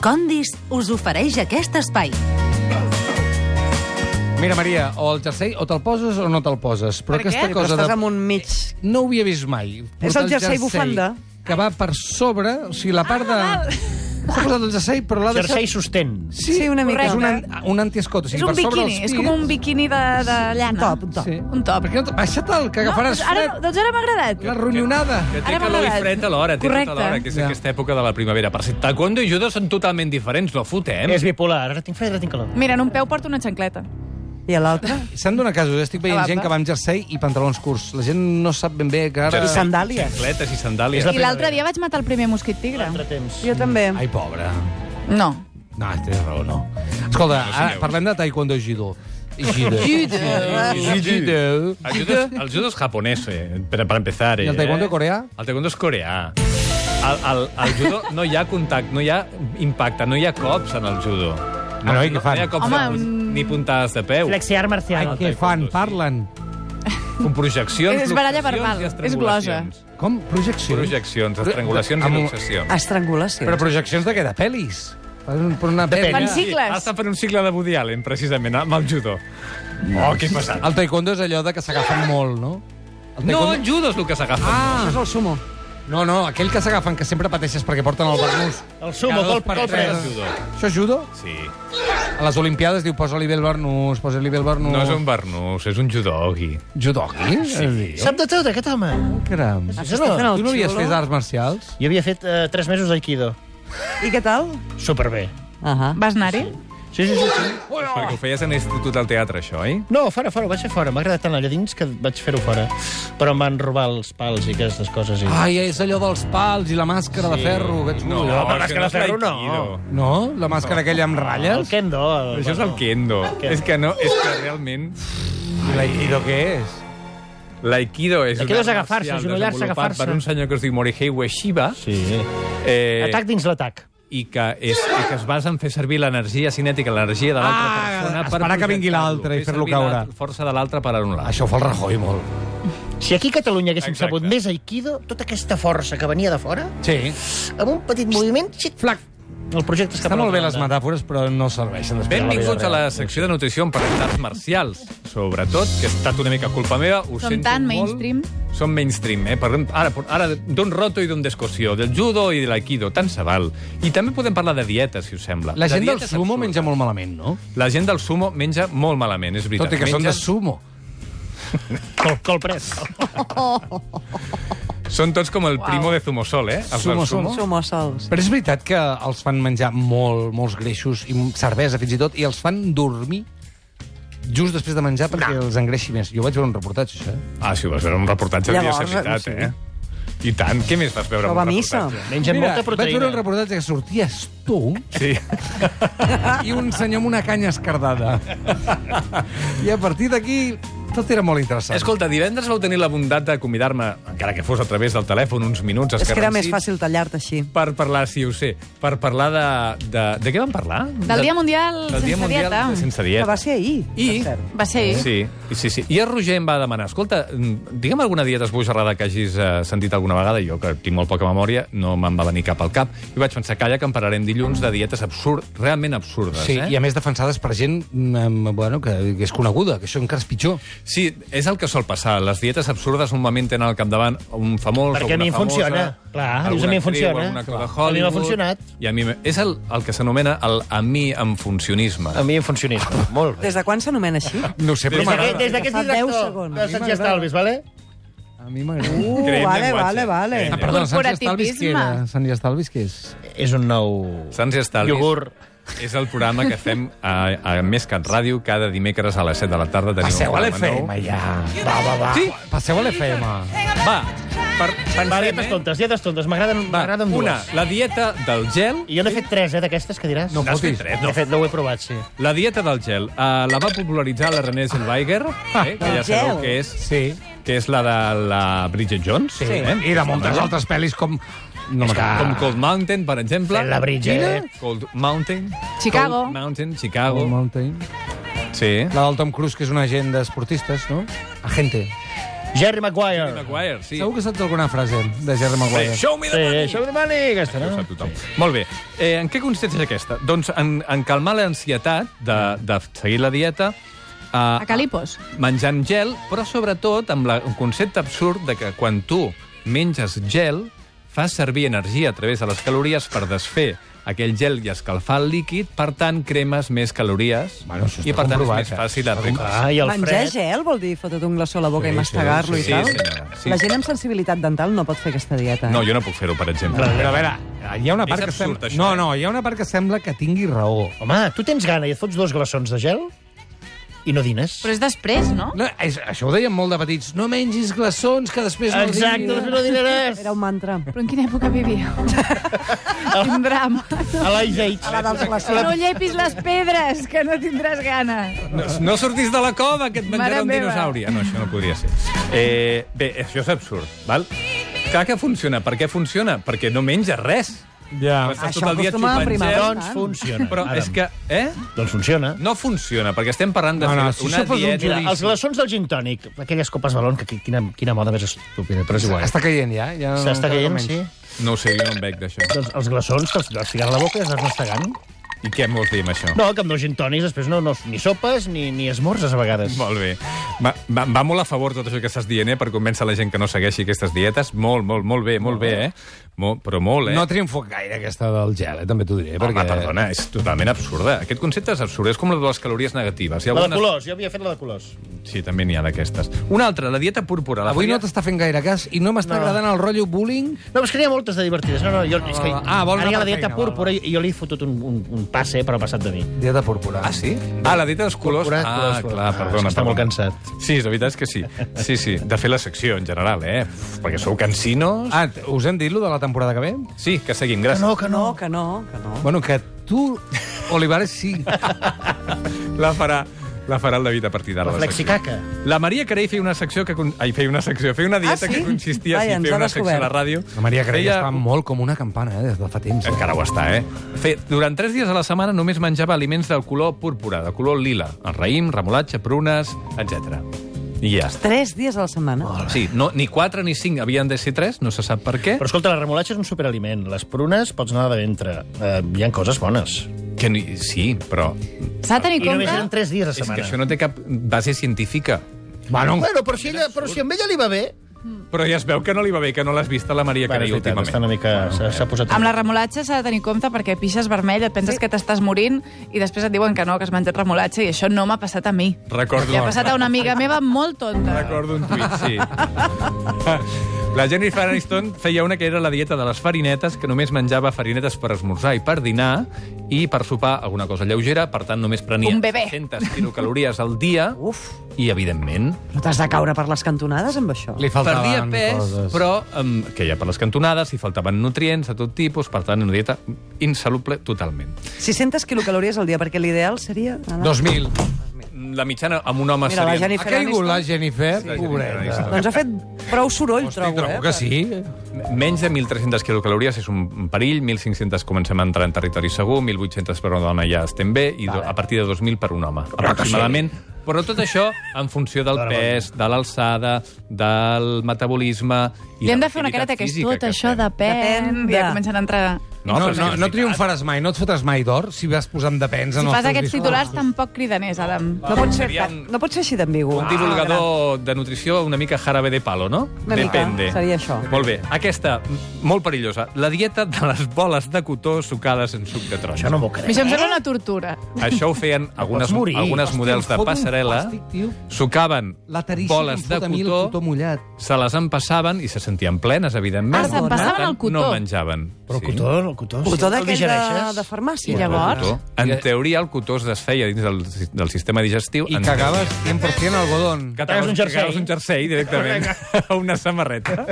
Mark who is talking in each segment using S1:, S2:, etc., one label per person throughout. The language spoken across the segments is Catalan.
S1: Condis us ofereix aquest espai.
S2: Mira, Maria, o el jersei o te'l poses o no te'l poses. Però
S3: Per
S2: aquesta
S3: què?
S2: cosa
S4: Estàs
S2: de...
S4: amb un mig...
S2: No ho havia vist mai.
S4: És
S2: Portar
S4: el jersei bufanda.
S2: Que va per sobre, o sigui, la part de... S'ha posat el jersei, però l'ha deixat...
S5: Jersei sostén.
S4: Sí, una mica.
S2: És un,
S3: Correcte.
S2: an- un antiescot, o
S3: És
S2: sigui,
S3: un
S2: per sobre
S3: biquini,
S2: els
S3: és com un biquini de, de llana.
S4: top, un top.
S2: Sí.
S3: Un top.
S2: Per què no te- Baixa-te'l, que agafaràs
S3: doncs ara,
S2: fred.
S3: doncs ara m'ha agradat.
S2: La ronyonada.
S6: Que té
S3: Ara m'ha
S6: calor i
S3: agradat.
S6: fred alhora, té
S3: Correcte.
S6: tot alhora, que és
S2: Ja.
S6: aquesta època de la primavera. Per cert, taekwondo i judo són totalment diferents, no fotem.
S5: És bipolar. Ara tinc fred, ara tinc calor.
S3: Mira, en un peu porto una xancleta.
S4: I a l'altre?
S2: S'han donat casos, estic veient
S3: Ah, va,
S2: gent
S3: va.
S2: que va amb jersei i pantalons curts. La gent no sap ben bé que ara...
S4: I sandàlies.
S6: Xancletes i sandàlies.
S5: És La
S3: I l'altre
S5: primavera.
S3: dia vaig matar el primer mosquit tigre.
S5: Altre temps.
S4: Jo també.
S2: Ai, pobra.
S3: No.
S2: No, tens raó, no. Escolta, ara parlem de taekwondo i judo. Judo.
S3: Judo.
S2: Judo.
S6: El judo, és, el judo és japonès, eh, per, per empezar.
S2: I el taekwondo coreà?
S6: El taekwondo és coreà. Al, al, al judo no hi ha contacte, no hi ha impacte, no hi ha cops en el judo.
S2: Ah, no, i què fan?
S6: No hi ha cops
S3: Home,
S6: Home, de,
S3: mm.
S6: ni puntades de peu.
S5: Flexiar
S2: Ai,
S5: marcial.
S2: què fan?
S6: taekwondo, sí.
S2: Parlen.
S6: Com projeccions,
S3: És baralla
S6: luxacions
S3: verbal,
S6: i
S3: és
S6: estrangulacions.
S2: Com? Projeccions?
S6: Projeccions, estrangulacions i
S2: Amb un-
S6: luxacions.
S4: Estrangulació.
S2: Però projeccions de què? De pel·lis? Per un- per una
S3: Fan
S2: pel·li.
S3: cicles.
S6: Has de fer un cicle de Woody Allen, precisament, amb el judo. Oh, que passat.
S2: El taekwondo és allò de que s'agafen molt, no? El
S6: No,
S2: taekwondo...
S6: el judo és el que s'agafa.
S2: Ah!
S4: Això és el sumo.
S2: No, no, aquell que s'agafen, que sempre pateixes perquè porten el barnús.
S5: El sumo,
S2: Cada dos
S5: col,
S2: per
S5: col
S2: tres.
S5: pres.
S6: judo.
S2: Això és judo?
S6: Sí.
S2: A les Olimpiades diu posa-li bé el barnús, posa-li bé el barnús.
S6: No és un barnús, és un judogi.
S2: Judoki? Sí.
S5: Sap de tot, aquest home.
S2: Caram.
S5: Sí,
S4: Estàs fent el
S5: senyor.
S2: Tu no havies
S4: xulo?
S2: fet arts marcials?
S5: Jo havia fet eh, tres mesos d'aikido.
S4: I què tal?
S5: Superbé.
S4: Ahà.
S3: Vas anar-hi?
S5: Sí, sí, sí. sí.
S6: Perquè ho feies a l'institut del teatre, això, oi?
S5: No, fora, fora, ho vaig fer fora. M'ha agradat tant allà dins que vaig fer-ho fora. Però em van robar els pals i aquestes coses. I...
S2: Ai, és allò dels pals i la màscara de ferro. Que xulo.
S5: no,
S6: això
S5: però és que la
S6: és
S5: ferro no.
S6: l'aikido.
S2: No? La màscara aquella amb
S5: El
S2: ratlles?
S5: kendo. El...
S6: Això és el kendo.
S5: Kendo.
S6: És que no, és que realment...
S2: I l'aikido què és?
S6: L'aikido és...
S5: L'aikido
S6: un
S5: és
S6: art
S5: agafar-se,
S6: marcial
S5: agenollar-se,
S6: desenvolupat
S5: agafar-se.
S6: Per un senyor que es diu Morihei Ueshiba,
S5: Sí.
S6: eh,
S5: Atac dins l'atac.
S6: i que, és, i que es basa en fer servir l'energia cinètica, l'energia de l'altra
S2: Ah,
S6: persona... per
S2: esperar que vingui
S6: projectar-lo,
S2: l'altre i
S6: fer
S2: fer-lo
S6: servir la
S2: caure.
S6: força de l'altre per anul·lar.
S2: Això ho fa el Rajoy molt.
S5: Si aquí a Catalunya haguéssim
S6: Exacte.
S5: sabut més aikido, tota aquesta força que venia de fora,
S2: Sí.
S5: amb un petit moviment, xic,
S2: Flac.
S5: el projecte es cap
S2: Està
S5: a
S2: molt bé les
S5: l'altra banda.
S2: metàfores, però no serveixen després.
S6: Benvinguts a
S2: vida
S6: la
S2: real.
S6: secció de nutrició on parlem d'arts marcials, sobretot, que ha estat una mica culpa meva, ho
S3: Som
S6: sento
S3: tan
S6: molt.
S3: mainstream.
S6: Som mainstream, eh? Parlem ara, ara d'un roto i d'un d'escoció, del judo i de l'aikido, tant se val. I també podem parlar de dieta, si us sembla.
S2: La gent
S6: De
S2: del
S6: dietes
S2: sumo
S6: absurdes.
S2: menja molt malament, no?
S6: La gent del sumo menja molt malament, és veritat.
S2: Tot i que són de
S6: Mengen-
S2: sumo.
S5: Col, col pres.
S6: són tots com el primo de Zumosol, eh? Els del
S2: Sumo, sumo.
S4: Sumo sols.
S2: Però és veritat que els fan menjar molt, molts greixos, i cervesa fins i tot, i els fan dormir just després de menjar perquè els engreixi més. Jo vaig veure un reportatge, això. eh?
S6: Ah, sí, vas veure un reportatge de
S4: Llavors,
S6: seriositat,
S4: sí.
S6: eh? I tant, què més vas veure?
S4: Però
S6: en un
S4: va a missa.
S6: reportatge?
S5: Mengen molta
S2: vaig veure
S5: proteïna.
S2: un reportatge que sorties tu
S6: Sí.
S2: i un senyor amb una canya escardada. I a partir d'aquí tot era molt interessant.
S6: Escolta, divendres vau tenir la bondat de convidar-me, encara que fos a través del telèfon, uns minuts
S4: És que era més
S6: escarransits,
S4: fàcil tallar-te així.
S6: per parlar, sí, ho sé, per parlar de... De, de què vam parlar?
S3: Del Dia Mundial
S6: del Dia
S3: Sense
S6: Mundial
S3: Dieta.
S6: Sense
S4: Que
S6: dieta.
S4: va ser ahir,
S6: I-
S4: per cert.
S3: Va ser eh? ahir.
S6: Sí, sí, sí. I el Roger em va demanar, escolta, mm, digue'm alguna dieta esbojarrada que hagis eh, sentit alguna vegada, jo que tinc molt poca memòria, no me'n va venir cap al cap, i vaig pensar, calla, que en parlarem dilluns de dietes absurd, realment absurdes,
S2: Sí,
S6: eh?
S2: i a més defensades per gent mm, bueno, que, que és coneguda, que això encara és pitjor.
S6: Sí, és el que sol passar. Les dietes absurdes normalment tenen al capdavant un famós
S5: Perquè a
S6: o una
S5: mi em
S6: famosa,
S5: funciona. Clar, dius, a
S6: alguna
S5: mi em
S6: actriu,
S5: funciona.
S6: alguna cosa de
S5: Clar. A mi m'ha
S6: Hollywood.
S5: funcionat.
S6: I a mi me- és el, el que s'anomena el a mi en funcionisme.
S5: A mi em funcionisme. Molt bé.
S4: Des de quan s'anomena així?
S2: No ho sé,
S5: Des
S2: però
S5: d'aquest-
S2: m'agrada.
S5: des d'aquest
S4: Fa deu
S5: director
S4: segons.
S5: de Sanchi Estalvis, vale?
S2: A mi m'agrada.
S4: Uh,
S6: Creem
S4: vale,
S6: llenguatge.
S4: vale, vale.
S6: Creem
S2: Ah, perdona, Sanji Estalvis què era?
S3: Corporativisme.
S2: Sanji Estalvis què és?
S5: És un nou...
S6: Sants i Estalvis.
S5: Iogurt.
S6: És el programa que fem a, a Més Cat Ràdio cada dimecres a les 7 de la tarda. Tenim un programa nou.
S2: ja. Va, va, va. Sí? Passeu a l'FM.
S6: Va, per, pensem,
S5: Va,
S6: eh?
S5: dietes tontes, dietes tontes. M'agraden
S6: Va,
S5: m'agraden dues.
S6: una, la dieta del gel...
S5: I jo n'he fet tres, eh, d'aquestes, que diràs?
S2: No
S6: N'has
S2: fotis.
S6: fet tres,
S5: De
S6: no?
S5: fet, no ho he provat, sí.
S6: La dieta del gel. Uh, la va popularitzar la Renée Zellweger, eh, que ja
S4: Del
S6: sabeu
S4: gel.
S6: que és
S2: Sí.
S6: que és la de la Bridget Jones. Eh? Sí.
S2: I de moltes altres pel·lis com... No
S5: És que-
S2: m'agrada.
S6: Com Cold Mountain, per exemple.
S5: La Bridget.
S6: Quina? Cold Mountain.
S3: Chicago.
S6: Cold Mountain, Chicago.
S2: Cold Mountain.
S6: Sí.
S2: La del Tom Cruise, que és un agent d'esportistes, no? Agente.
S5: Jerry Maguire.
S6: Maguire, sí.
S2: Segur que saps alguna frase de Jerry Maguire.
S6: Show me
S5: Sí,
S6: the money!
S5: això és Mani, aquesta,
S6: Ho sap
S5: no?
S6: tothom. Molt bé. Eh, en què consisteix aquesta? Doncs en, en calmar l'ansietat de, de seguir la dieta eh,
S3: A Calipos.
S6: menjant gel, però sobretot amb la, el concepte absurd de que quan tu menges gel, fas servir energia a través de les calories per desfer aquell gel i escalfar el líquid, per tant, cremes més calories
S2: Bueno, això està
S6: i, per tant, és
S2: comprovat,
S6: més
S2: eh?
S6: fàcil arreglar.
S5: Ah, i el
S4: Menjar
S5: fred.
S4: gel vol dir fotre't un glaçó a la boca
S2: Sí,
S4: i mastegar-lo
S6: sí, sí,
S4: i tal?
S6: senyora, sí.
S4: La gent amb sensibilitat dental no pot fer aquesta dieta. eh?
S6: No, jo no puc fer-ho, per exemple.
S2: Però, a veure, hi ha una part que
S6: És absurd,
S2: sembla...
S6: això,
S2: No,
S6: eh?
S2: no, hi ha una part que sembla que tingui raó.
S5: Home, tu tens gana i et fots dos glaçons de gel i no dines.
S3: Però és després, no?
S2: No, és, això ho deien molt de petits. No mengis glaçons, que després no
S5: Exacte,
S2: diguis.
S5: després no dinaràs.
S4: Era un mantra.
S3: Però en quina època vivíeu? Quin drama.
S5: A l'Ice
S4: A la
S5: Age.
S4: dels
S3: No
S4: glaçons.
S3: llepis les pedres, que no tindràs gana.
S6: No, no surtis de la cova, que et menjarà
S3: Mare
S6: un
S3: meva.
S6: dinosauri. Ah, no, això no podria ser. Eh, bé, això és absurd, val? Clar que funciona. Per què funciona? Perquè no menges res.
S2: Ja.
S6: Estàs
S4: Això
S6: tot el dia
S4: acostuma a
S6: xupant
S4: primavera. eh?
S6: gel.
S5: Doncs funciona.
S6: Però
S5: Adam.
S6: és que... Eh?
S5: Doncs funciona.
S6: No funciona, perquè estem parlant de
S2: No,
S6: fer
S2: no, si
S6: una
S2: això fos un
S6: dieta...
S5: Mira, els glaçons del gin tònic, aquelles copes balon, que qui- quina, quina moda més estúpida, però és igual.
S2: Està caient ja? ja no-
S5: S'està
S2: encara no
S5: caient,
S2: menys.
S5: sí?
S6: No ho sé, jo no em veig d'això.
S5: Doncs els glaçons te'ls vas ficant a la boca i els vas mastegant.
S6: I què em vols dir amb això?
S5: No, que amb dos gin tònics després no, no, ni sopes ni, ni esmorzes a vegades.
S6: Molt bé. Va, va, va molt a favor tot això que estàs dient, eh? Per convèncer la gent que no segueixi aquestes dietes. Molt, molt, molt bé, molt bé, eh? Molt, però molt, eh?
S2: No ha triomfat gaire aquesta del gel, eh? també t'ho diré.
S6: Home,
S2: perquè...
S6: perdona, és totalment absurda. Aquest concepte és absurd, és com la de les calories negatives. Hi ha
S5: La de
S6: algunes-
S5: colors, jo havia fet la de colors.
S6: Sí, també n'hi ha d'aquestes. Una altra, la dieta púrpura. La
S2: Avui no
S6: feia-
S2: t'està fent gaire cas i no m'està
S5: No.
S2: agradant el rotllo bullying.
S5: No, però és que n'hi ha moltes de divertides. No, no, jo, és que
S2: Ah, vol
S5: ara hi
S2: anar
S5: ha la
S2: per
S5: dieta
S2: feina,
S5: púrpura i jo li he fotut un, un, un passe, però ha passat de mi.
S2: Dieta púrpura.
S6: Ah, sí? Ah, la dieta dels colors.
S5: Púrpura,
S6: ah,
S5: colors, colors.
S6: clar,
S5: Ah, és
S6: perdona.
S5: que està molt
S6: perdona.
S5: cansat.
S6: Sí, la veritat és que sí. Sí, sí. De fer la secció, en general, eh? Uf, perquè sou cansinos.
S2: Ah, t- us hem dit lo de la temporada que ve?
S6: Sí, que seguim, gràcies.
S5: No, que no.
S4: No, que no, que no.
S2: Bueno, que tu, Olivares, sí.
S6: La farà, la farà el David a partir d'ara.
S5: La
S6: secció.
S5: flexicaca.
S6: La Maria Carey feia una secció que... Con... Ai, feia una secció. Feia una dieta
S4: Ah, sí?
S6: que consistia...
S4: Vaja,
S6: sí,
S4: ens
S6: feia
S4: ha
S6: una secció a la
S4: descobert.
S6: ràdio.
S2: La Maria Carey
S6: Feia-
S2: està molt com una campana, eh, des de fa temps. eh?
S6: Encara ho està, eh? Fe, durant tres dies a la setmana només menjava aliments del color púrpura, de color lila, el raïm, remolatge, prunes, etc. I ja està.
S4: Tres dies a la setmana.
S6: Sí, no, ni quatre ni cinc havien de ser tres, no se sap per què.
S5: Però escolta, la remolatxa és un superaliment. Les prunes pots anar de ventre. Eh, hi han coses bones.
S6: Que ni... Sí, però...
S3: S'ha de tenir
S5: I només
S3: compte...
S5: eren 3 dies a
S6: És
S5: setmana. Ah,
S6: que això no té cap base científica.
S2: Bueno,
S5: Bueno, però si, ella, però si amb ella li va bé...
S6: Però ja es veu que no li va bé, que no l'has vist a la Maria
S5: Bueno, és
S6: Carey
S5: veritat, està una
S6: últimament.
S5: mica... s'ha- S'ha posat...
S3: Amb la remolatxa s'ha de tenir compte perquè pixes vermell, et penses sí. que t'estàs morint i després et diuen que no, que has menjat remolatxa i això no m'ha passat a mi.
S6: Recordo,
S3: Li ha passat a una amiga meva molt tonta.
S6: recordo un tuit, sí. La Jennifer Aniston feia una que era la dieta de les farinetes, que només menjava farinetes per esmorzar i per dinar, i per sopar alguna cosa lleugera, per tant només prenia
S3: Un bebè.
S6: 600 quilocalories al dia,
S4: Uf,
S6: i evidentment
S4: no t'has de caure per les cantonades amb això.
S2: li
S6: perdia
S2: faltaven
S6: pes,
S2: coses.
S6: però um, que hi ha per les cantonades, hi faltaven nutrients de tot tipus, per tant una dieta insalubre totalment.
S4: 600 quilocalories al dia, perquè l'ideal seria... anar-
S2: 2000.
S6: La mitjana amb un home
S4: Mira, la
S6: seria...
S2: Ha
S4: Jennifer
S2: caigut la
S4: Aniston...
S2: Jennifer,
S6: La Jennifer
S2: pobreta.
S6: Aniston.
S4: Doncs ha fet prou soroll,
S2: Hosti,
S4: trobo, eh?
S2: trobo que sí.
S6: Menys de 1.300 quilocalories és un perill, 1.500 comencem a entrar en territori segur, 1.800 per una dona ja estem bé, i do, a partir de 2.000 per un home, aproximadament. Però tot això en funció del pes, de l'alçada, del metabolisme... i
S3: Li hem de
S6: l'activitat
S3: fer una careta que és
S6: física
S3: tot
S6: que
S3: això
S6: fem.
S3: depèn.
S4: Depèn de-
S3: Ja comencen a entrar...
S2: No, no,
S6: però és que
S2: no,
S6: és
S2: no
S6: veritat.
S2: triomfaràs mai, no et fotràs mai d'or si vas posant depens
S3: Si
S2: en els
S3: fas
S2: teus
S3: aquests
S2: discursos.
S3: titulars tampoc cridaners, Adam.
S4: No pot ser,
S6: Seria
S4: tan,
S6: un-
S4: no pot ser així d'ambigu.
S6: Un divulgador de nutrició una mica jarabe de palo, no?
S4: Una mica,
S6: Depende.
S4: seria això.
S6: Molt bé. Aquesta, m- molt perillosa. La dieta de les boles de cotó sucades en suc de taronja.
S5: Això no m'ho
S3: A
S5: crec.
S3: mi
S6: Eh?
S3: Això em sembla una tortura.
S6: Això ho feien algunes,
S5: morir.
S6: algunes
S2: Hòstia,
S6: models
S2: em
S6: de
S2: fot un
S6: passarel·la,
S2: plàstic, tio.
S6: sucaven
S2: La tarícia
S6: boles
S2: que
S6: de
S2: em fot a mi el
S6: cotó,
S2: cotó mullat.
S6: se les empassaven i se sentien plenes, evidentment.
S3: Ah, s'empassaven el cotó.
S6: No menjaven.
S5: Però el cotó, el cotó... si
S4: Cotó
S5: el
S4: d'aquell de,
S5: digereixes-
S4: de farmàcia.
S3: I
S6: El
S3: llavors?
S6: cotó. En teoria, el cotó es desfeia dins del, del sistema digestiu.
S2: I
S6: En
S2: cagaves 100% algodón.
S6: Que
S5: Tragues un jersei.
S6: Cagaves un jersei directament a una samarreta.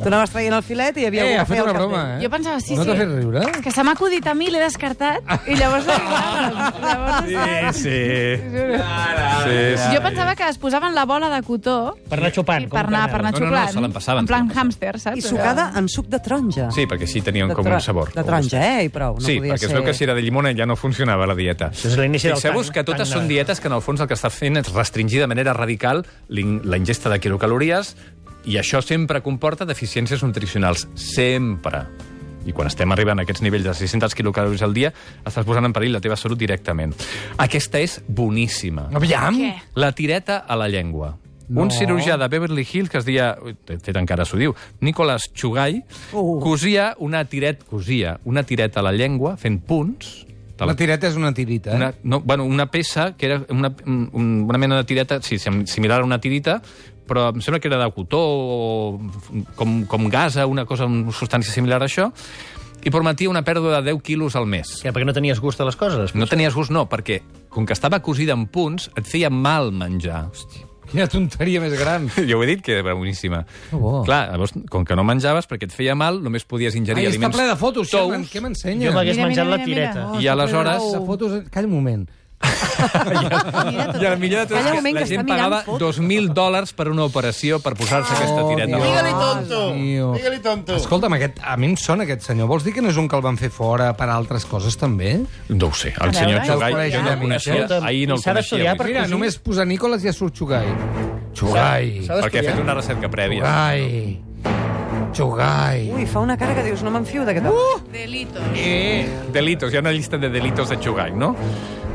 S4: Tu anaves traient el filet i hi havia
S2: Eh,
S4: algú
S2: ha
S4: que
S2: fet
S4: feia
S2: una
S4: el cartell.
S2: broma, eh?
S3: Jo pensava, sí,
S2: no
S3: sí.
S2: t'ha fet riure?
S3: És que se m'ha acudit a mi, l'he descartat, i llavors... llavors
S6: sí. sí, sí.
S3: Jo pensava que es posaven la bola de cotó
S5: Per anar xupant.
S3: i
S5: com
S3: per anar, per anar
S6: No, no, no,
S3: xuplant.
S6: se l'empassaven,
S3: en plan
S6: se l'empassaven.
S3: hàmster, saps?
S4: I sucada en suc de taronja.
S6: eh? Sí, perquè així tenien
S4: De
S6: com
S4: tra-
S6: un sabor.
S4: De taronja, eh? I prou. No
S6: sí,
S4: podia
S6: perquè
S4: ser...
S6: es veu que si era de llimona ja no funcionava la dieta.
S5: Des de l'inici del
S6: Fixeu-vos
S5: tan-
S6: que totes
S5: tan-
S6: són dietes que en el fons el que està fent és restringir de manera radical l'in- la ingesta de quilocalories i això sempre comporta deficiències nutricionals. Sempre. I quan estem arribant a aquests nivells de 600 quilocalories al dia, estàs posant en perill la teva salut directament. Aquesta és boníssima.
S2: Aviam!
S3: Què?
S6: La tireta a la llengua. No. Un cirurgià de Beverly Hills que es deia, ui, de fet encara s'ho diu, Nicolas Chugai, uh.
S2: Oh.
S4: Uh.
S6: cosia una tiret, cosia una tireta a la llengua fent punts. de
S2: La tireta és una tirita, eh?
S6: Una, no, bueno, una peça que era una, un- una mena de tireta, sí, sim- similar a una tirita, però em sembla que era de cotó o com, com gasa, una cosa, una substància similar a això, i permetia una pèrdua de 10 quilos al mes.
S5: Que perquè no tenies gust a les coses.
S6: No tenies gust, no, perquè com que estava cosida en punts, et feia mal menjar. Hòstia.
S2: Quina tonteria més gran.
S6: Jo ho he dit que era boníssima.
S2: Que Oh, bo.
S6: Clar, llavors, com que no menjaves perquè et feia mal, només podies ingerir
S2: Ai, està
S6: aliments...
S2: ple de fotos, Ah,
S6: tous,
S2: Sherman. Què
S5: Jo
S2: m'ensenyes?
S5: m'hagués
S3: Mira, mira,
S5: menjat la
S3: mira, mira.
S5: tireta.
S3: Oh,
S6: I aleshores...
S2: Les fotos... Calla un moment.
S6: I el millor de tot
S4: Calla un
S6: és que
S4: moment,
S6: la
S4: que
S6: gent
S4: està mirant
S6: pagava
S4: fotos.
S6: 2.000 dòlars per una operació per posar-se aquesta
S2: Oh,
S6: tireta.
S2: Dios.
S5: Digue-li tonto!
S2: Dios.
S5: Digue-li tonto!
S2: Escolta'm, aquest, a mi em sona aquest senyor. Vols dir que no és un que el van fer fora per altres coses, també?
S6: No ho sé, el senyor
S3: veure,
S6: Xogai,
S2: ja.
S6: jo no el coneixia,
S2: eh?
S5: Escolta'm,
S6: ahir no el
S5: s'ha d'estudiar
S6: coneixia.
S5: per-
S6: avui.
S2: Mira,
S5: cosir-
S2: només posar Nicolas ja surt Xugai. Xugai.
S5: S'ha
S6: Perquè he
S5: d'estudiar.
S6: fet una recerca prèvia.
S2: Xugai. Xugai.
S4: Ui, fa una cara que dius, no me'n fio d'aquest home. Uh!
S3: Delito.
S6: Eh, Delitos, hi ha una llista de delitos de Xugai, no?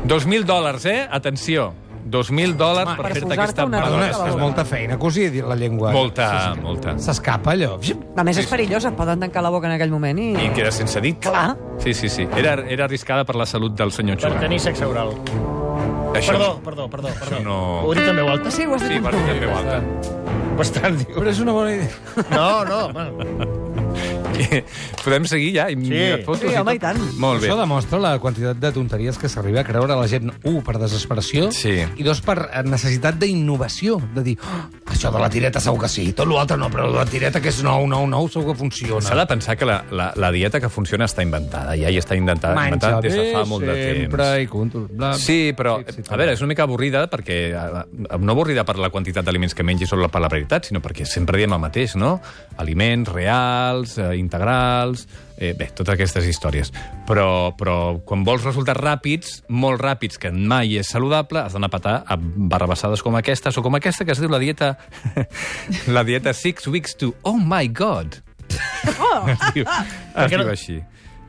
S6: 2.000 dòlars, eh? Atenció. 2.000 dòlars per
S4: per
S6: fer-te
S4: posar-te
S6: aquesta
S4: una
S2: Perdona,
S4: Perdona,
S2: és que és molta feina cosir la llengua.
S6: Molta, molta.
S2: S'escapa, allò.
S4: A més, és perillós, et poden tancar la boca en aquell moment i...
S6: I queda sense dit.
S4: Clar.
S6: Sí, sí, sí. Era, era arriscada per la salut del senyor
S5: Per
S6: Xugai.
S5: tenir sexe oral.
S6: Això,
S5: Perdó, perdó, perdó. perdó.
S6: Això no...
S5: Ho he dit en veu alta?
S4: Ah, Sí, ho has dit.
S6: Sí, per fer veu alta.
S5: Bastant, diu.
S2: Però és una bona idea.
S5: No, no, bueno.
S6: Podem seguir ja?
S5: Sí.
S6: Sí, fotos
S4: Sí, home, i tant.
S6: Molt
S2: Això
S6: bé.
S2: demostra la quantitat de tonteries que s'arriba a creure la gent, un, per desesperació,
S6: Sí.
S2: i dos, per eh, necessitat d'innovació, de dir, oh, això de la tireta segur que sí, tot l'altre no, però la tireta que és nou, nou, nou, segur que
S6: S'ha
S2: funciona.
S6: de pensar que la, la, la dieta que funciona està inventada, ja hi està inventada, inventada des de fa molt de temps.
S2: sempre i control.
S6: Sí, però, a veure, és una mica avorrida perquè... eh, No avorrida per la quantitat d'aliments que mengis o la- per la veritat, sinó perquè sempre diem el mateix, no? Aliments reals, eh, integrals... Eh, bé, totes aquestes històries. Però, però quan vols resultats ràpids, molt ràpids, que mai és saludable, has d'anar a patar a barrabassades com aquestes o com aquesta que es diu la dieta... la dieta Six Weeks to Oh My God. Oh! Es diu,
S5: Per
S6: es
S5: què no-
S6: diu així.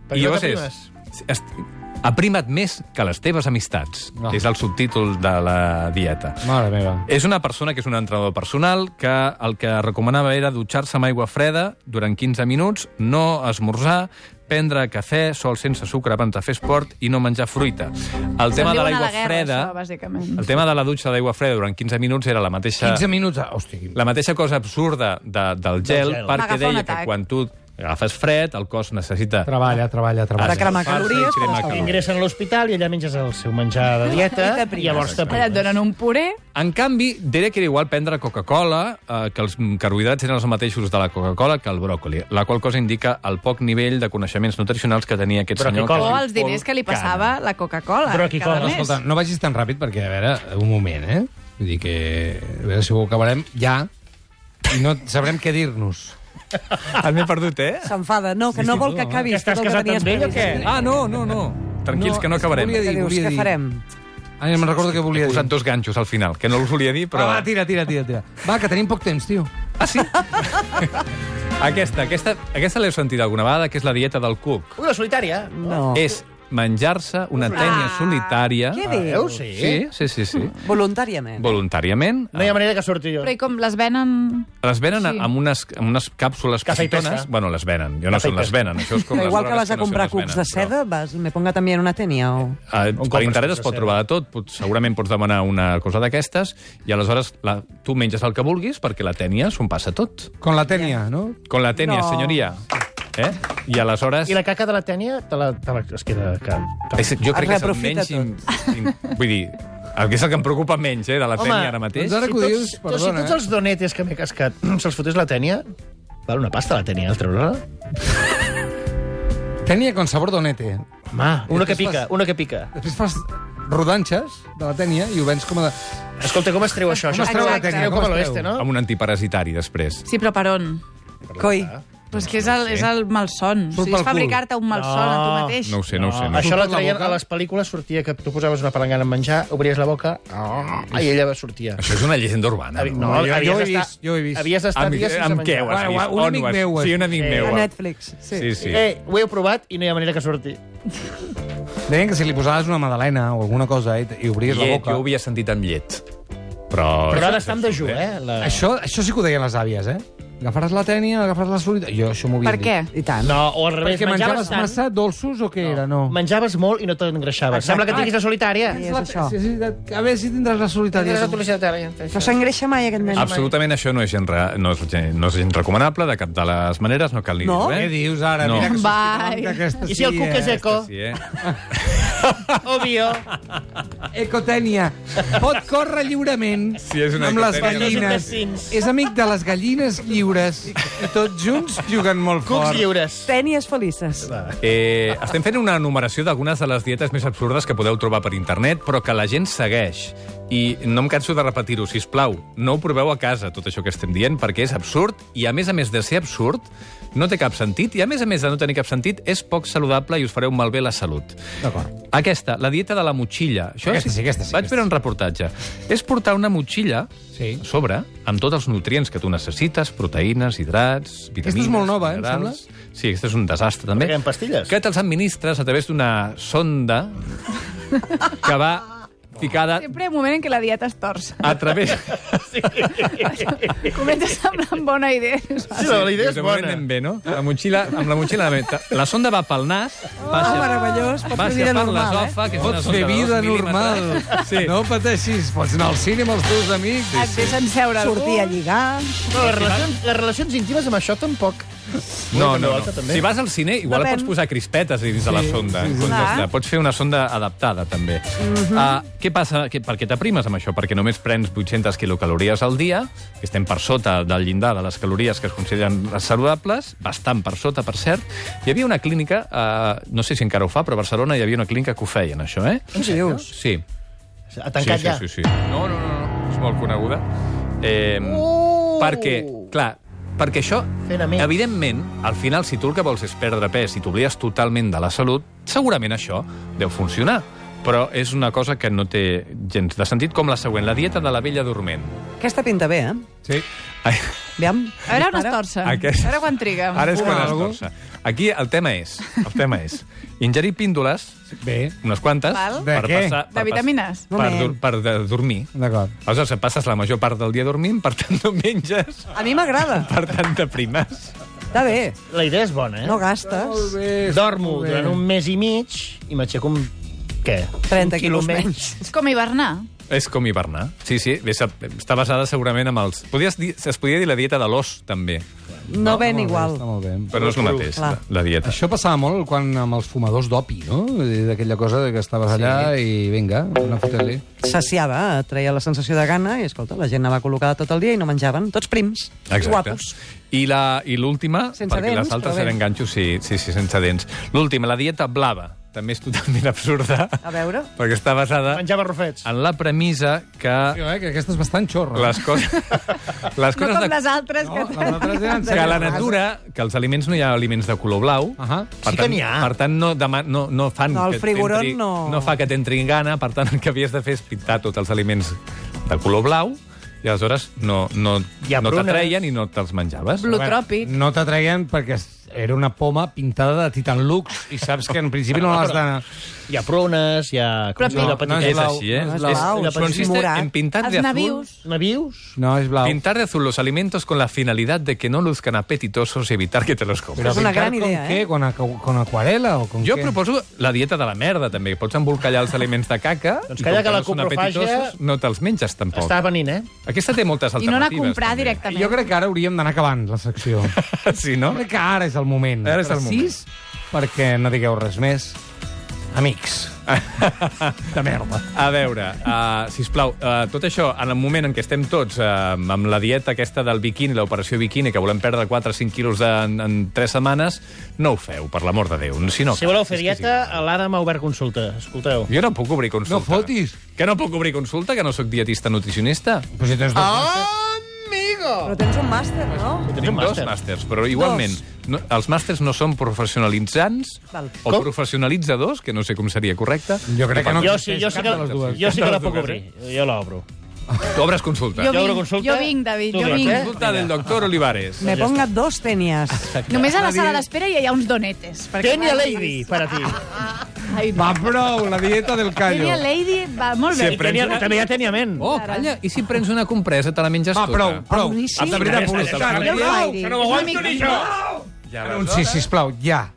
S5: per què no
S6: llavors és- est- Aprima't més que les teves amistats.
S2: No.
S6: És el subtítol de la dieta.
S2: Mare meva.
S6: És una persona que és un entrenador personal que el que recomanava era dutxar-se amb aigua freda durant 15 minuts, no esmorzar, prendre cafè sol sense sucre abans de fer esport i no menjar fruita. El tema de
S3: diuen a la
S6: l'aigua
S3: guerra,
S6: freda...
S3: això, bàsicament.
S6: el tema de la dutxa d'aigua freda durant 15 minuts era la mateixa
S2: 15 minuts, ah, hòstia. quin-
S6: la mateixa cosa absurda de, del gel,
S5: gel.
S6: perquè
S3: M'agafa un
S6: deia que
S3: atac.
S6: quan tu agafes fred, el cos necessita...
S2: Treballa, treballa, treballa.
S4: Ara cremar
S6: escalfar-se i
S4: calories per
S6: cremar
S4: estar
S6: calor.
S5: Ingressen a l'hospital i allà menges el seu menjar de dieta
S4: I
S5: i
S4: t'aprimes.
S5: llavors
S3: Allà et
S5: t'aprimes.
S3: donen un puré
S6: En canvi, diré que era igual prendre Coca-Cola, eh, que els carbohidrats eren els mateixos de la Coca-Cola que el bròcoli, la qual cosa indica el poc nivell de coneixements nutricionals que tenia aquest
S5: Però
S6: senyor.
S5: que
S6: que
S5: cola.
S3: o
S6: es diu
S3: els diners
S6: Paul
S3: que li
S6: Kahn.
S3: passava la Coca-Cola.
S5: Però aquí
S3: cada
S5: cola,
S3: mes.
S2: Escolta, no vagis tan ràpid perquè, a veure, un moment, eh? Vull dir que... A veure si ho acabarem ja i no sabrem què dir-nos.
S6: Ah, M'he perdut, eh?
S4: S'enfada. No, que no vol que
S5: Que
S4: acabis.
S5: estàs
S4: tot el
S5: casat
S4: tenies
S5: amb ell o què?
S4: previst.
S6: Ah, no, no, no. Tranquils,
S2: No,
S6: que no
S2: és que
S6: acabarem.
S2: volia
S4: Què
S2: dir-
S4: dius?
S2: volia
S4: Què
S2: dir.
S4: farem?
S2: Ara me'n recordo què
S6: He
S2: volia dir.
S6: posat dos ganxos al final, que no els volia dir,
S2: Però...
S6: però...
S2: Ah, Va, va, tira, tira, tira, tira. Va, que tenim poc temps, tio.
S6: Ah, sí? aquesta, aquesta, aquesta l'heu sentit alguna vegada, que és la dieta del cuc.
S5: Una solitària.
S4: No.
S6: És menjar-se una tènia solitària...
S4: Què dius?
S5: Veus? Ah, eh,
S4: Mm.
S5: Sí.
S6: Sí, sí, sí, sí.
S4: Voluntàriament.
S6: Voluntàriament.
S5: No hi ha manera que surti jo.
S3: Però i com les venen...
S6: Les venen
S3: Sí.
S6: sí. amb, unes, amb unes càpsules
S5: Cafè i
S6: petitones.
S5: pesca.
S6: Bueno, les venen. Jo no
S5: Cafè i
S6: són les
S5: pesca.
S6: venen. Això és com
S4: Però
S6: les
S4: igual que
S6: drogues
S4: vas a
S6: no són
S4: comprar
S6: les
S4: cucs de
S6: venen, però-
S4: seda, vas, me ponga també una tenia o...
S6: Eh,
S5: On
S6: per
S5: compres
S6: internet
S5: cucs
S6: es
S5: de
S6: pot
S5: seda?
S6: trobar de tot. Pot, segurament pots demanar una cosa d'aquestes i aleshores la, tu menges el que vulguis perquè la tènia s'ho passa tot.
S2: Con la tènia, no?
S6: Con la tènia,
S4: No.
S6: senyoria. Eh? I aleshores...
S5: I la caca de la tènia te la, te la es queda... Que, que...
S6: És, jo crec que és el
S4: reprofita
S6: menys... In, in, vull dir, el que és el que em preocupa menys, eh, de la
S5: Home,
S6: tènia ara mateix.
S2: doncs ara- que ho dius,
S5: tots, tots, si
S2: perdona,
S5: tots els donetes que m'he cascat se'ls fotés la tènia, val una pasta la tènia, eh? el treure-la?
S2: Tènia con sabor donete.
S5: Home, una que
S2: després
S5: pica,
S2: fas-
S5: una que pica.
S2: Després fas rodanxes de la tènia i ho vens com a... De...
S5: Escolta, com es treu això?
S2: Com es treu
S5: Això
S2: la
S5: es
S2: tènia?
S5: treu
S2: Com
S5: com a
S2: es
S5: l'oeste,
S2: treu?
S5: no?
S6: Amb un antiparasitari, després.
S3: Sí, però per on?
S4: Coi.
S3: Però és que és el, és el malson. O
S2: Surt
S3: sigui,
S2: pel
S3: és
S2: cul.
S3: fabricar-te un malson a tu
S5: No.
S3: mateix.
S6: No ho sé, no ho sé. No.
S5: Això
S2: Surt
S5: la
S2: per la
S5: traien
S2: boca?
S5: a les pel·lícules, sortia que tu posaves una palangana en menjar, obries la boca, ah, i ella sortia.
S6: Això és una llegenda urbana.
S5: No,
S2: jo- jo
S5: havies
S2: ho he
S5: d'estar-
S2: vist, jo ho he vist.
S5: Havies d'estar
S6: Ah, Amb,
S5: dies sense
S6: amb què ho
S5: menjar.
S6: has vist?
S2: Un
S6: On
S2: amic
S6: ho has-
S2: meu, eh?
S6: Sí, un amic
S5: Eh,
S6: meu.
S4: A
S6: eh?
S4: Netflix. Sí.
S6: Sí, sí.
S5: Eh, ho he provat i no hi ha manera que surti.
S2: Deien que si li posaves una madalena o alguna cosa i, i obries la
S6: Llet,
S2: boca...
S6: jo ho havia sentit amb llet. Però...
S5: Però ha d'estar amb dejú, eh? La...
S2: Això, això sí que ho deien les àvies, eh? Agafaràs la tènia, agafaràs la fruita... Jo això m'ho havia
S3: Per què?
S4: I tant.
S5: No, o al revés,
S2: Perquè menjaves
S5: tant,
S2: massa dolços o què no. era? No.
S5: menjaves molt i no t'engreixaves. Sembla que tinguis la solitària.
S4: Sí, és això.
S2: Sí, sí, de- a veure si tindràs la solitària.
S5: Tindràs la solitària.
S4: No s'engreixa mai, aquest nen.
S6: Absolutament això no és, gens, re- no, és, gen- no és gens recomanable, de cap de les maneres, no cal dir
S4: No?
S6: res.
S2: Què dius ara?
S6: No.
S2: Mira que
S3: Bye.
S2: sortirà, que aquesta
S5: Eh? I si el
S2: sí,
S5: cuc és
S2: eh?
S5: eco?
S6: Sí, eh?
S5: Obvio.
S2: Ecotènia. Pot córrer lliurement
S6: Sí, és una
S2: amb les
S6: ecotènia.
S2: gallines.
S5: Assassins.
S2: És amic de les gallines lliures. I tots junts juguen molt
S5: Cucs
S2: fort.
S5: lliures.
S4: Tènies felices.
S6: Eh, estem fent una enumeració d'algunes de les dietes més absurdes que podeu trobar per internet, però que la gent segueix. I no em canso de repetir-ho, si plau, no ho proveu a casa, tot això que estem dient, perquè és absurd, i a més a més de ser absurd, no té cap sentit, i a més a més de no tenir cap sentit, és poc saludable i us fareu malbé la salut.
S2: D'acord.
S6: Aquesta, la dieta de la motxilla. Això
S2: Aquesta sí, aquesta sí,
S6: Vaig
S2: aquesta
S6: veure un reportatge. És portar una motxilla
S2: Sí.
S6: a sobre amb tots els nutrients que tu necessites, proteïnes, hidrats, vitamines...
S2: és molt nova, eh, em
S6: minerals. Sí, aquesta és un desastre, també.
S5: Perquè en pastilles.
S6: Que te'ls administres a través d'una sonda que va ficada
S3: Sempre hi ha un moment en què la dieta es torça.
S6: a través...
S3: Comença a semblar bona idea.
S5: Sí, la idea és
S6: De moment
S5: bona.
S6: anem bé, no? La motxilla, amb la motxilla... La sonda va pel nas,
S4: Oh,
S6: baixa,
S4: meravellós. Pots fer
S6: baixa
S4: vida
S6: per
S4: normal, eh?
S6: l'esòfag... que és una
S2: Pots
S6: sonda
S2: fer
S6: de dos
S2: vida normal.
S6: mil·límetres. Sí.
S2: No pateixis. Pots anar al cine amb els teus amics.
S3: Et deixen seure algú.
S4: Sortir a lligar.
S5: No, les, relacions, les relacions íntimes amb això tampoc.
S6: No,
S5: Ui,
S6: no,
S5: també.
S6: no. Si vas al cine, igual et
S4: Depèn.
S6: pots posar crispetes dins de la sonda. en comptes de, pots fer una sonda adaptada, també. uh, què passa? Que, per què t'aprimes amb això? Perquè només prens 800 quilocalories al dia, que estem per sota del llindar de les calories que es consideren les saludables, bastant per sota, per cert. Hi havia una clínica, uh, no sé si encara ho fa, però a Barcelona hi havia una clínica que ho feien, això, eh?
S4: Què dius?
S6: Sí.
S5: Ha tancat
S6: sí,
S5: ja.
S6: sí, sí, sí. No, no, no, no, és molt coneguda. Eh, oh! Perquè, clar, perquè això,
S5: Uh! Fent amics.
S6: evidentment, al final, si tu el que vols és perdre pes i t'oblides totalment de la salut, segurament això deu funcionar. Però és una cosa que no té gens de sentit, com la següent, la dieta de la vella dorment.
S4: Aquesta pinta bé, eh?
S2: Sí.
S6: Ai,
S4: Aviam.
S3: A veure on es torça.
S6: Aquest-
S3: A veure quan triga.
S6: Ara és quan es
S2: algú?
S6: torça. Aquí el tema és, el tema és ingerir píndoles,
S2: Bé,
S6: unes quantes,
S3: Val.
S2: De què?
S3: De vitamines?
S6: Per,
S4: Moment.
S6: dur- per de- dormir.
S2: d'acord.
S6: Aleshores, et passes la major part del dia dormint, per tant, no menges,
S4: A mi m'agrada.
S6: per tant, de primes.
S4: Està bé.
S5: La idea és bona, eh?
S4: No gastes.
S5: Dormo
S2: Molt bé.
S5: durant un mes i mig i m'aixeco amb... Què?
S4: 30
S5: Un quilo
S4: quilos menys.
S3: És com hivernar.
S6: És com hivernar. Sí, sí, bé, s'ha- està basada segurament amb els... Podies dir, es podia dir la dieta de l'os, també,
S4: No ven igual.
S2: Està molt bé.
S6: però no és el mateix, la,
S4: Clar.
S6: la dieta.
S2: Això passava molt quan amb els fumadors d'opi, no? Eh, D'aquella cosa de que estaves allà i vinga, una fotre-li.
S4: Saciava, eh? treia la sensació de gana i, escolta, la gent anava col·locada tot el dia i no menjaven. Tots prims,
S6: Exacte.
S4: guapos.
S6: I la- I l'última,
S4: Sense
S6: perquè
S4: dents,
S6: les altres
S4: però bé.
S6: eren ganxos, sí, sí, sí, sense dents. L'última, la dieta blava, també és totalment absurda,
S4: A veure.
S6: perquè està basada
S5: Menjava rofets.
S6: en la premissa que
S2: Jo, eh, que aquesta és bastant xorra.
S6: les coses... les
S3: No
S6: coses
S3: com
S6: de...
S3: les altres
S2: No,
S3: que...
S2: les altres eren
S6: que a la natura, que als aliments no hi ha aliments de color blau,
S2: Ahà.
S6: per
S5: Sí que
S6: tant-
S5: n'hi ha.
S6: Per tant, no, dema, no, no fan...
S4: No, el
S6: que
S4: frigorón
S6: t'entri-
S4: no.
S6: No fa que t'entrin gana, per tant, el que havies de fer és pintar tots els aliments de color blau i aleshores no, no,
S5: Hi ha
S6: no
S5: prunes.
S6: t'atreien i no te'ls menjaves.
S3: Blu- Lutròpic.
S2: No t'atreien perquè era una poma pintada de Titan Lux i saps que en principi no l'has de...
S5: Hi ha prunes, hi ha... Com es diu
S2: No, no
S5: la petita?
S6: És
S2: blau,
S6: així, eh?
S4: no és
S6: És-
S4: blau,
S6: és-
S5: és
S6: consiste
S4: morat.
S6: en pintar
S3: Els
S6: de azul...
S3: navius.
S5: Navius?
S2: No, és blau.
S6: Pintar de azul los alimentos con la finalidad de que no luzcan apetitosos y evitar que te los comas.
S4: Però és una
S2: pintar
S4: gran
S2: com
S4: idea,
S2: què?
S4: eh?
S2: Con, acu- con aquarela o con
S6: Jo
S2: què?
S6: proposo la dieta de la merda, també. Pots embolcallar els aliments de caca...
S5: Doncs
S6: i
S5: calla
S6: com
S5: que la
S6: no són
S5: coprofàgia-
S6: apetitosos, No te'ls menges, tampoc.
S5: Està venint, eh?
S6: Aquesta té moltes
S3: I no
S6: alternatives.
S3: anar a comprar
S6: també.
S3: directament.
S2: Jo crec que ara hauríem d'anar acabant la secció. Jo
S6: Sí, no?
S2: crec que ara és el moment.
S6: Ara és el moment.
S2: Precís, perquè no digueu res més. Amics. de merda.
S6: A veure, uh, sisplau, uh, tot això, en el moment en què estem tots uh, amb la dieta aquesta del biquini, l'operació biquini, que volem perdre 4 o 5 quilos de, en, en 3 setmanes, no ho feu, per l'amor de Déu. Si no,
S5: Si voleu fer
S6: és que sí.
S5: dieta, l'Ada m'ha obert consulta. Escolteu.
S6: Jo no puc obrir consulta.
S2: No fotis.
S6: Que no puc obrir consulta, que no sóc dietista nutricionista?
S2: Però si tens dos...
S6: Amigo!
S4: Però tens un màster, no?
S5: Tens un
S6: Tinc dos
S5: màster.
S6: màsters, però igualment, no, els màsters no són professionalitzants
S4: Val.
S6: o
S5: Com?
S6: professionalitzadors, que no sé com seria correcte.
S2: Jo crec que no
S5: Jo sí, jo
S2: existeix
S5: sí
S2: cap
S5: que,
S2: de les dues.
S5: jo sí que la puc
S6: Cap de les
S5: obrir. Jo l'obro.
S6: Tu obres consulta.
S3: Jo
S5: Jo obro
S3: vinc,
S5: consulta.
S3: jo vinc, David,
S5: Tu
S3: jo
S5: obres
S3: vinc.
S5: consulta.
S6: Consulta del doctor Olivares.
S4: Me ponga dos tenies.
S3: Només a la sala d'espera hi ha uns donetes. perquè-
S5: Tenia Lady, Ah. per a ti.
S3: Ai,
S2: Va,
S3: va.
S2: prou, la dieta del callo.
S3: Tenia Lady, va, molt bé.
S5: I tenia, també ja tenia ment.
S6: Oh, calla, i si prens una compresa, te la menges
S2: Va,
S6: tota?
S2: prou, prou.
S4: Boníssim.
S2: De veritat,
S5: Aquesta,
S2: publicitat.
S5: aquesta,
S2: Ariel,
S5: aquesta.
S2: Ariel,
S5: no ho aguanto ni jo.
S6: Ja,
S2: Anunci, sisplau, ja.